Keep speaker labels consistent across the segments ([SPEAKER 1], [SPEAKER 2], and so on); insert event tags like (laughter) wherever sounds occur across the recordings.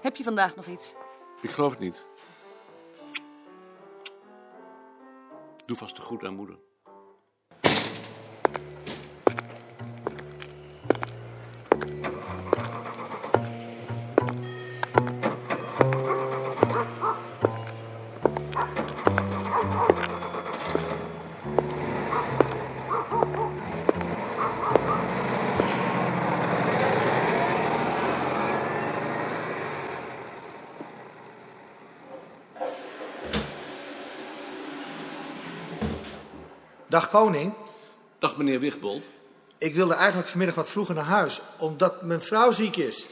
[SPEAKER 1] Heb je vandaag nog iets?
[SPEAKER 2] Ik geloof het niet. Doe vast te goed aan moeder.
[SPEAKER 3] Dag koning,
[SPEAKER 2] Dag meneer Wigbold.
[SPEAKER 3] ik wilde eigenlijk vanmiddag wat vroeger naar huis, omdat mijn vrouw ziek is.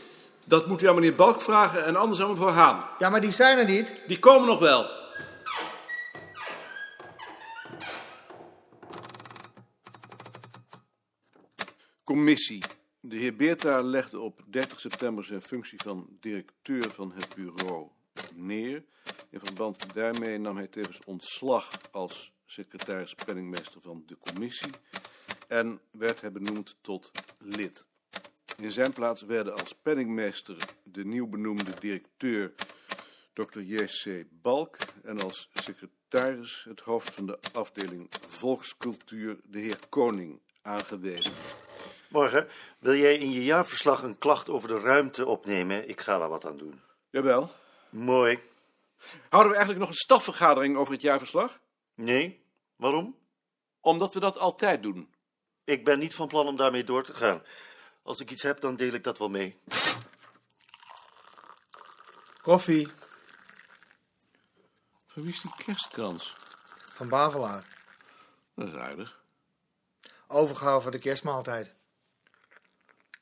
[SPEAKER 2] Dat moet u aan meneer Balk vragen en anders aan mevrouw Haan.
[SPEAKER 3] Ja, maar die zijn er niet.
[SPEAKER 2] Die komen nog wel. Commissie. De heer Beerta legde op 30 september zijn functie van directeur van het bureau neer. In verband daarmee nam hij tevens ontslag als secretaris-penningmeester van de commissie en werd hij benoemd tot lid. In zijn plaats werden als penningmeester de nieuw benoemde directeur Dr. J.C. Balk en als secretaris het hoofd van de afdeling Volkscultuur de heer Koning aangewezen.
[SPEAKER 4] Morgen, wil jij in je jaarverslag een klacht over de ruimte opnemen? Ik ga daar wat aan doen.
[SPEAKER 2] Jawel.
[SPEAKER 4] Mooi.
[SPEAKER 2] Houden we eigenlijk nog een stafvergadering over het jaarverslag?
[SPEAKER 4] Nee? Waarom?
[SPEAKER 2] Omdat we dat altijd doen.
[SPEAKER 4] Ik ben niet van plan om daarmee door te gaan. Als ik iets heb, dan deel ik dat wel mee.
[SPEAKER 3] Koffie
[SPEAKER 2] Voor wie is die kerstkrans?
[SPEAKER 3] van Bavelaar.
[SPEAKER 2] Dat is aardig.
[SPEAKER 3] Overgehouden van de kerstmaaltijd.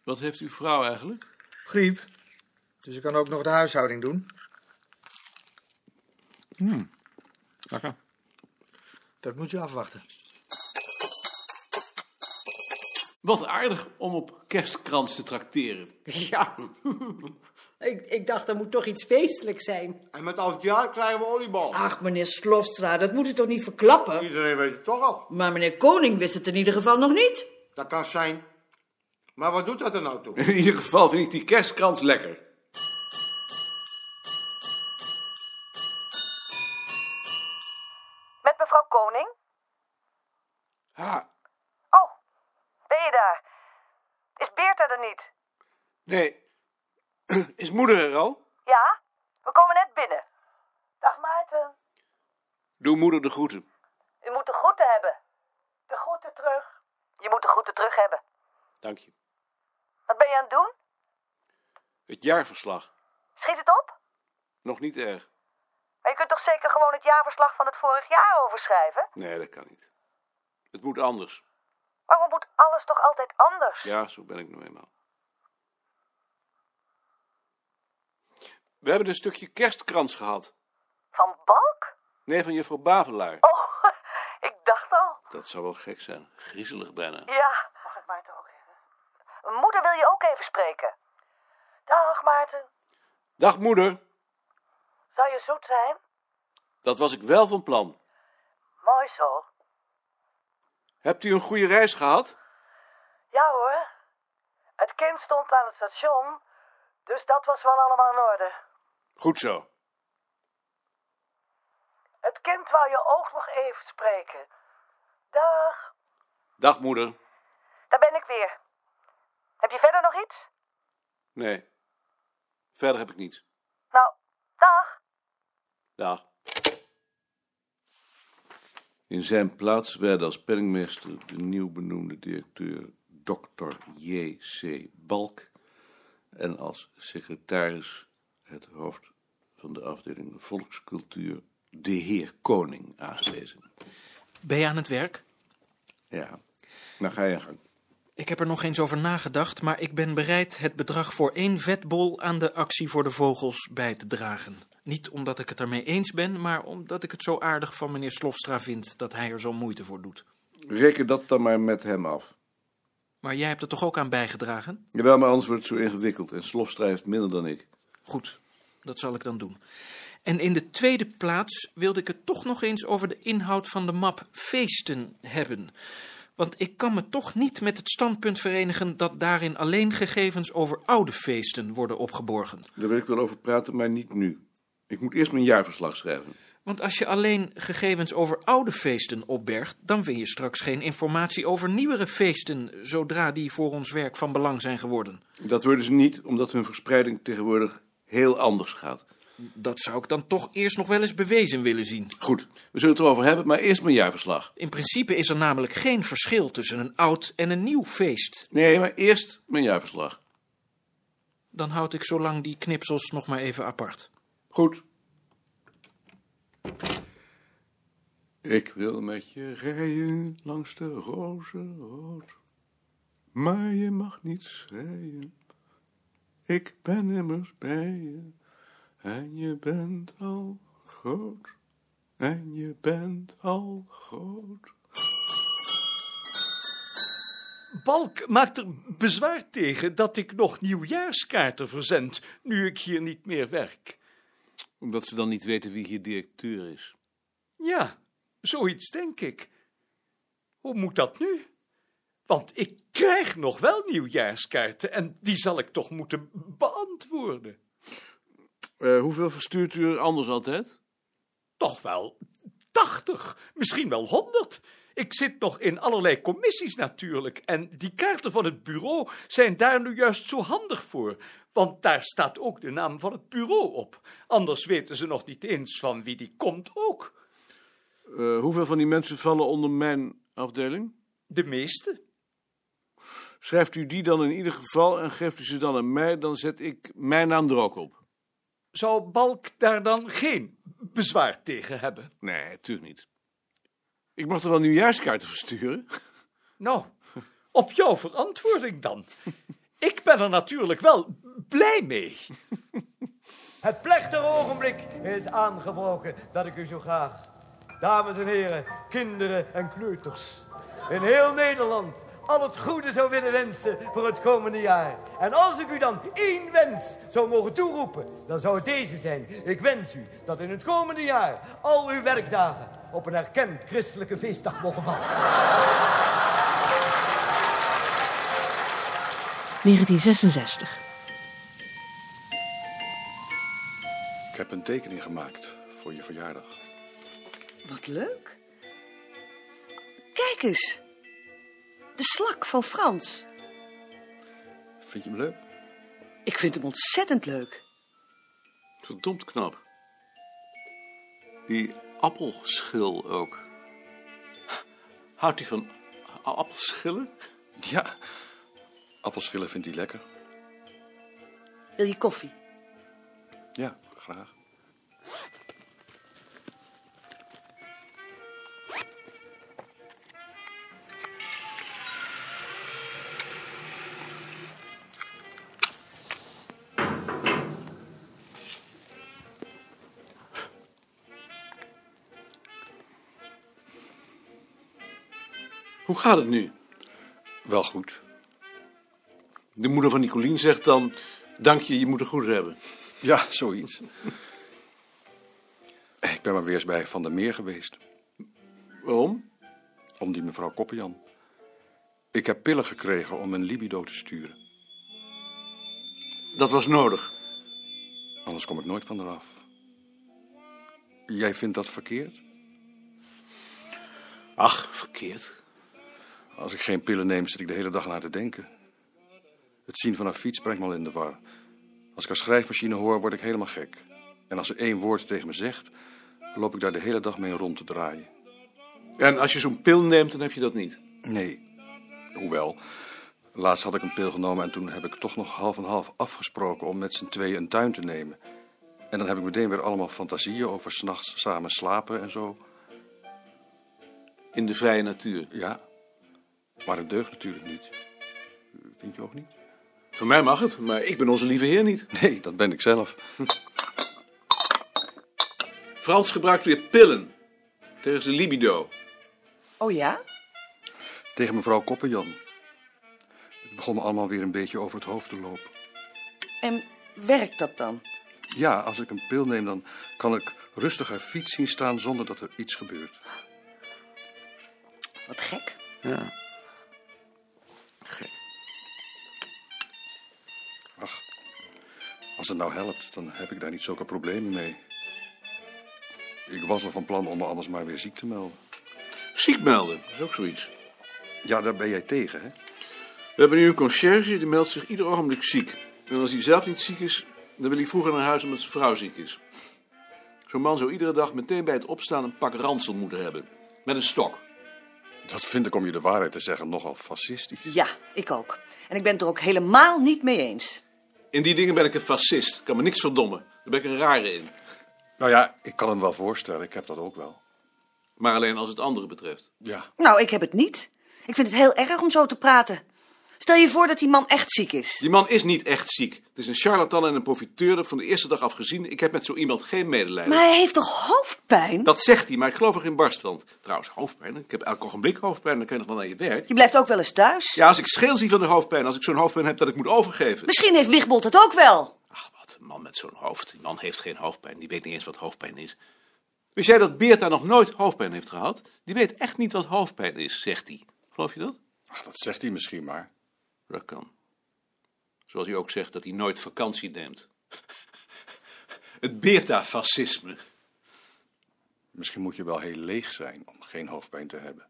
[SPEAKER 2] Wat heeft uw vrouw eigenlijk?
[SPEAKER 3] Griep. Dus ik kan ook nog de huishouding doen.
[SPEAKER 2] Lekker.
[SPEAKER 3] Dat moet je afwachten.
[SPEAKER 2] Wat aardig om op kerstkrans te trakteren.
[SPEAKER 5] Ja, (laughs) ik, ik dacht er moet toch iets feestelijks zijn.
[SPEAKER 6] En met oud jaar krijgen we oliebal.
[SPEAKER 7] Ach, meneer Slofstra, dat moet u toch niet verklappen?
[SPEAKER 6] Iedereen weet het toch al.
[SPEAKER 7] Maar meneer Koning wist het in ieder geval nog niet.
[SPEAKER 6] Dat kan zijn. Maar wat doet dat er nou toe?
[SPEAKER 2] In ieder geval vind ik die kerstkrans lekker.
[SPEAKER 8] Met mevrouw Koning?
[SPEAKER 2] Ha,
[SPEAKER 8] Oh, ben je daar? Is Beerta er niet?
[SPEAKER 2] nee. (clears throat) Is moeder er al?
[SPEAKER 8] Ja, we komen net binnen. Dag Maarten.
[SPEAKER 2] Doe moeder de groeten.
[SPEAKER 8] U moet de groeten hebben. De groeten terug. Je moet de groeten terug hebben.
[SPEAKER 2] Dank je.
[SPEAKER 8] Wat ben je aan het doen?
[SPEAKER 2] Het jaarverslag.
[SPEAKER 8] Schiet het op?
[SPEAKER 2] Nog niet erg.
[SPEAKER 8] Maar je kunt toch zeker gewoon het jaarverslag van het vorig jaar overschrijven?
[SPEAKER 2] Nee, dat kan niet. Het moet anders.
[SPEAKER 8] Waarom moet alles toch altijd anders?
[SPEAKER 2] Ja, zo ben ik nu eenmaal. We hebben een stukje kerstkrans gehad.
[SPEAKER 8] Van Balk?
[SPEAKER 2] Nee, van juffrouw Bavelaar.
[SPEAKER 8] Oh, (laughs) ik dacht al.
[SPEAKER 2] Dat zou wel gek zijn. Griezelig bijna.
[SPEAKER 8] Ja. Mag ik Maarten ook even? Moeder wil je ook even spreken. Dag Maarten.
[SPEAKER 2] Dag moeder.
[SPEAKER 8] Zou je zoet zijn?
[SPEAKER 2] Dat was ik wel van plan.
[SPEAKER 8] Mooi zo.
[SPEAKER 2] Hebt u een goede reis gehad?
[SPEAKER 8] Ja hoor. Het kind stond aan het station, dus dat was wel allemaal in orde.
[SPEAKER 2] Goed zo.
[SPEAKER 8] Het kind wou je ook nog even spreken. Dag.
[SPEAKER 2] Dag moeder.
[SPEAKER 8] Daar ben ik weer. Heb je verder nog iets?
[SPEAKER 2] Nee. Verder heb ik niets.
[SPEAKER 8] Nou, dag.
[SPEAKER 2] Dag. In zijn plaats werd als penningmeester de nieuw benoemde directeur Dr. J.C. Balk en als secretaris het hoofd van de afdeling Volkscultuur de heer Koning aangewezen.
[SPEAKER 9] Ben je aan het werk?
[SPEAKER 2] Ja, nou ga je gang.
[SPEAKER 9] Ik heb er nog eens over nagedacht, maar ik ben bereid het bedrag voor één vetbol aan de actie voor de vogels bij te dragen. Niet omdat ik het ermee eens ben, maar omdat ik het zo aardig van meneer Slofstra vind dat hij er zo moeite voor doet.
[SPEAKER 2] Reken dat dan maar met hem af.
[SPEAKER 9] Maar jij hebt er toch ook aan bijgedragen?
[SPEAKER 2] Jawel, maar anders wordt het zo ingewikkeld en Slofstra heeft minder dan ik.
[SPEAKER 9] Goed, dat zal ik dan doen. En in de tweede plaats wilde ik het toch nog eens over de inhoud van de map feesten hebben. Want ik kan me toch niet met het standpunt verenigen dat daarin alleen gegevens over oude feesten worden opgeborgen.
[SPEAKER 2] Daar wil ik wel over praten, maar niet nu. Ik moet eerst mijn jaarverslag schrijven.
[SPEAKER 9] Want als je alleen gegevens over oude feesten opbergt, dan win je straks geen informatie over nieuwere feesten, zodra die voor ons werk van belang zijn geworden.
[SPEAKER 2] Dat worden ze niet, omdat hun verspreiding tegenwoordig heel anders gaat.
[SPEAKER 9] Dat zou ik dan toch eerst nog wel eens bewezen willen zien.
[SPEAKER 2] Goed, we zullen het erover hebben, maar eerst mijn jaarverslag.
[SPEAKER 9] In principe is er namelijk geen verschil tussen een oud en een nieuw feest.
[SPEAKER 2] Nee, maar eerst mijn jaarverslag.
[SPEAKER 9] Dan houd ik zo lang die knipsels nog maar even apart.
[SPEAKER 2] Goed. Ik wil met je rijden langs de rozenrood, maar je mag niet schreeuwen. Ik ben immers bij je en je bent al groot en je bent al groot.
[SPEAKER 1] Balk maakt er bezwaar tegen dat ik nog nieuwjaarskaarten verzend, nu ik hier niet meer werk.
[SPEAKER 2] Omdat ze dan niet weten wie hier directeur is.
[SPEAKER 1] Ja, zoiets denk ik. Hoe moet dat nu? Want ik krijg nog wel nieuwjaarskaarten en die zal ik toch moeten beantwoorden.
[SPEAKER 2] Eh, hoeveel verstuurt u er anders altijd?
[SPEAKER 1] Toch wel tachtig, misschien wel honderd. Ik zit nog in allerlei commissies natuurlijk en die kaarten van het bureau zijn daar nu juist zo handig voor. Want daar staat ook de naam van het bureau op. Anders weten ze nog niet eens van wie die komt ook.
[SPEAKER 2] Eh, hoeveel van die mensen vallen onder mijn afdeling?
[SPEAKER 1] De meeste.
[SPEAKER 2] Schrijft u die dan in ieder geval en geeft u ze dan aan mij, dan zet ik mijn naam er ook op.
[SPEAKER 1] Zou Balk daar dan geen bezwaar tegen hebben?
[SPEAKER 2] Nee, natuurlijk niet. Ik mag er wel nieuwjaarskaarten versturen.
[SPEAKER 1] Nou, op jouw verantwoording dan. Ik ben er natuurlijk wel blij mee.
[SPEAKER 10] Het plechtige ogenblik is aangebroken dat ik u zo graag. Dames en heren, kinderen en kleuters. In heel Nederland al het goede zou willen wensen voor het komende jaar. En als ik u dan één wens zou mogen toeroepen, dan zou het deze zijn. Ik wens u dat in het komende jaar al uw werkdagen op een erkend christelijke feestdag mogen vallen.
[SPEAKER 7] 1966.
[SPEAKER 11] Ik heb een tekening gemaakt voor je verjaardag.
[SPEAKER 7] Wat leuk. Kijk eens. De slak van Frans.
[SPEAKER 11] Vind je hem leuk?
[SPEAKER 7] Ik vind hem ontzettend leuk.
[SPEAKER 2] Verdomd knap. Die appelschil ook. Houdt hij van a- appelschillen?
[SPEAKER 11] Ja, appelschillen vindt hij lekker.
[SPEAKER 7] Wil je koffie?
[SPEAKER 11] Ja, graag.
[SPEAKER 2] Hoe gaat het nu?
[SPEAKER 11] Wel goed.
[SPEAKER 2] De moeder van Nicolien zegt dan... Dank je, je moet een goede hebben.
[SPEAKER 11] Ja, zoiets. Eh, ik ben maar weer eens bij Van der Meer geweest.
[SPEAKER 2] Waarom?
[SPEAKER 11] Om die mevrouw Koppian. Ik heb pillen gekregen om mijn libido te sturen.
[SPEAKER 2] Dat was nodig.
[SPEAKER 11] Anders kom ik nooit van eraf. Jij vindt dat verkeerd?
[SPEAKER 2] Ach, verkeerd.
[SPEAKER 11] Als ik geen pillen neem, zit ik de hele dag naar te denken. Het zien van een fiets brengt me al in de war. Als ik een schrijfmachine hoor, word ik helemaal gek. En als ze één woord tegen me zegt, loop ik daar de hele dag mee rond te draaien.
[SPEAKER 2] En als je zo'n pil neemt, dan heb je dat niet.
[SPEAKER 11] Nee. Hoewel, laatst had ik een pil genomen en toen heb ik toch nog half en half afgesproken om met z'n tweeën een tuin te nemen. En dan heb ik meteen weer allemaal fantasieën over s'nachts samen slapen en zo.
[SPEAKER 2] In de vrije natuur.
[SPEAKER 11] Ja, maar het deugt natuurlijk niet. Vind je ook niet?
[SPEAKER 2] Voor mij mag het, maar ik ben onze lieve heer niet.
[SPEAKER 11] Nee, dat ben ik zelf.
[SPEAKER 2] Frans gebruikt weer pillen. Tegen zijn libido.
[SPEAKER 7] Oh ja?
[SPEAKER 11] Tegen mevrouw Koppenjan. Het begon me allemaal weer een beetje over het hoofd te lopen.
[SPEAKER 7] En werkt dat dan?
[SPEAKER 11] Ja, als ik een pil neem, dan kan ik rustig haar fiets zien staan zonder dat er iets gebeurt.
[SPEAKER 7] Wat gek.
[SPEAKER 11] Ja. Ach, als het nou helpt, dan heb ik daar niet zulke problemen mee. Ik was al van plan om me anders maar weer ziek te melden.
[SPEAKER 2] Ziek melden, is ook zoiets.
[SPEAKER 11] Ja, daar ben jij tegen, hè?
[SPEAKER 2] We hebben nu een conciërge, die meldt zich ieder ogenblik ziek. En als hij zelf niet ziek is, dan wil hij vroeger naar huis omdat zijn vrouw ziek is. Zo'n man zou iedere dag meteen bij het opstaan een pak ransel moeten hebben. Met een stok.
[SPEAKER 11] Dat vind ik, om je de waarheid te zeggen, nogal fascistisch.
[SPEAKER 7] Ja, ik ook. En ik ben het er ook helemaal niet mee eens.
[SPEAKER 2] In die dingen ben ik een fascist. Kan me niks verdommen. Daar ben ik een rare in.
[SPEAKER 11] Nou ja, ik kan hem wel voorstellen. Ik heb dat ook wel.
[SPEAKER 2] Maar alleen als het andere betreft.
[SPEAKER 11] Ja.
[SPEAKER 7] Nou, ik heb het niet. Ik vind het heel erg om zo te praten. Stel je voor dat die man echt ziek is.
[SPEAKER 2] Die man is niet echt ziek. Het is een charlatan en een profiteur. Dat van de eerste dag af gezien. Ik heb met zo iemand geen medelijden.
[SPEAKER 7] Maar hij heeft toch hoofdpijn?
[SPEAKER 2] Dat zegt hij, maar ik geloof er geen barst van. Trouwens, hoofdpijn. Ik heb elk ogenblik hoofdpijn. Dan kan je nog wel naar je werk.
[SPEAKER 7] Je blijft ook wel eens thuis.
[SPEAKER 2] Ja, als ik scheel zie van de hoofdpijn. Als ik zo'n hoofdpijn heb dat ik moet overgeven.
[SPEAKER 7] Misschien heeft Wigbold het ook wel.
[SPEAKER 2] Een man met zo'n hoofd. Die man heeft geen hoofdpijn. Die weet niet eens wat hoofdpijn is. Wist jij dat Beerta nog nooit hoofdpijn heeft gehad? Die weet echt niet wat hoofdpijn is, zegt hij. Geloof je dat?
[SPEAKER 11] Ach, dat zegt hij misschien maar.
[SPEAKER 2] Dat kan. Zoals hij ook zegt dat hij nooit vakantie neemt. Het Beerta-fascisme.
[SPEAKER 11] Misschien moet je wel heel leeg zijn om geen hoofdpijn te hebben.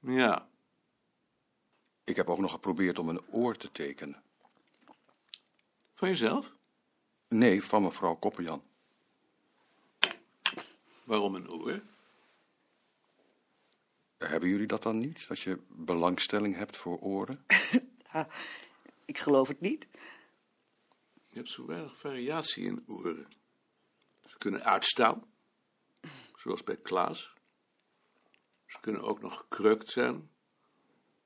[SPEAKER 2] Ja.
[SPEAKER 11] Ik heb ook nog geprobeerd om een oor te tekenen.
[SPEAKER 2] Van jezelf?
[SPEAKER 11] Nee, van mevrouw Koppenjan.
[SPEAKER 2] Waarom een oor?
[SPEAKER 11] Hebben jullie dat dan niet? Dat je belangstelling hebt voor oren?
[SPEAKER 7] Ik geloof het niet.
[SPEAKER 2] Je hebt zo weinig variatie in oren. Ze kunnen uitstaan, zoals bij Klaas. Ze kunnen ook nog gekreukt zijn.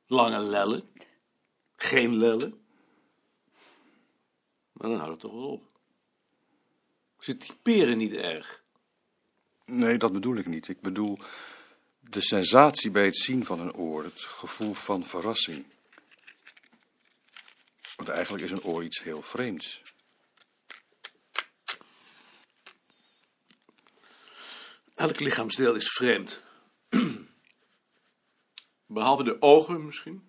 [SPEAKER 2] Lange lellen. Geen lellen. Maar dan houdt het toch wel op. Ze typeren niet erg.
[SPEAKER 11] Nee, dat bedoel ik niet. Ik bedoel de sensatie bij het zien van een oor, het gevoel van verrassing. Want eigenlijk is een oor iets heel vreemds.
[SPEAKER 2] Elk lichaamsdeel is vreemd. Behalve de ogen misschien.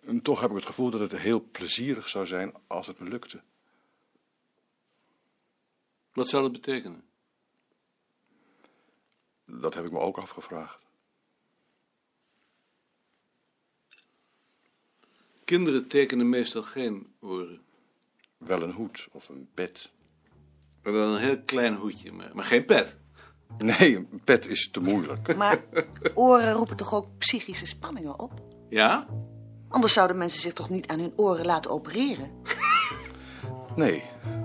[SPEAKER 11] En toch heb ik het gevoel dat het heel plezierig zou zijn als het me lukte.
[SPEAKER 2] Wat zou dat betekenen?
[SPEAKER 11] Dat heb ik me ook afgevraagd.
[SPEAKER 2] Kinderen tekenen meestal geen oren.
[SPEAKER 11] Wel een hoed of een pet.
[SPEAKER 2] Maar dan een heel klein hoedje, maar, maar geen pet.
[SPEAKER 11] Nee, een pet is te moeilijk.
[SPEAKER 7] Maar oren roepen toch ook psychische spanningen op?
[SPEAKER 2] Ja?
[SPEAKER 7] Anders zouden mensen zich toch niet aan hun oren laten opereren?
[SPEAKER 11] Nee,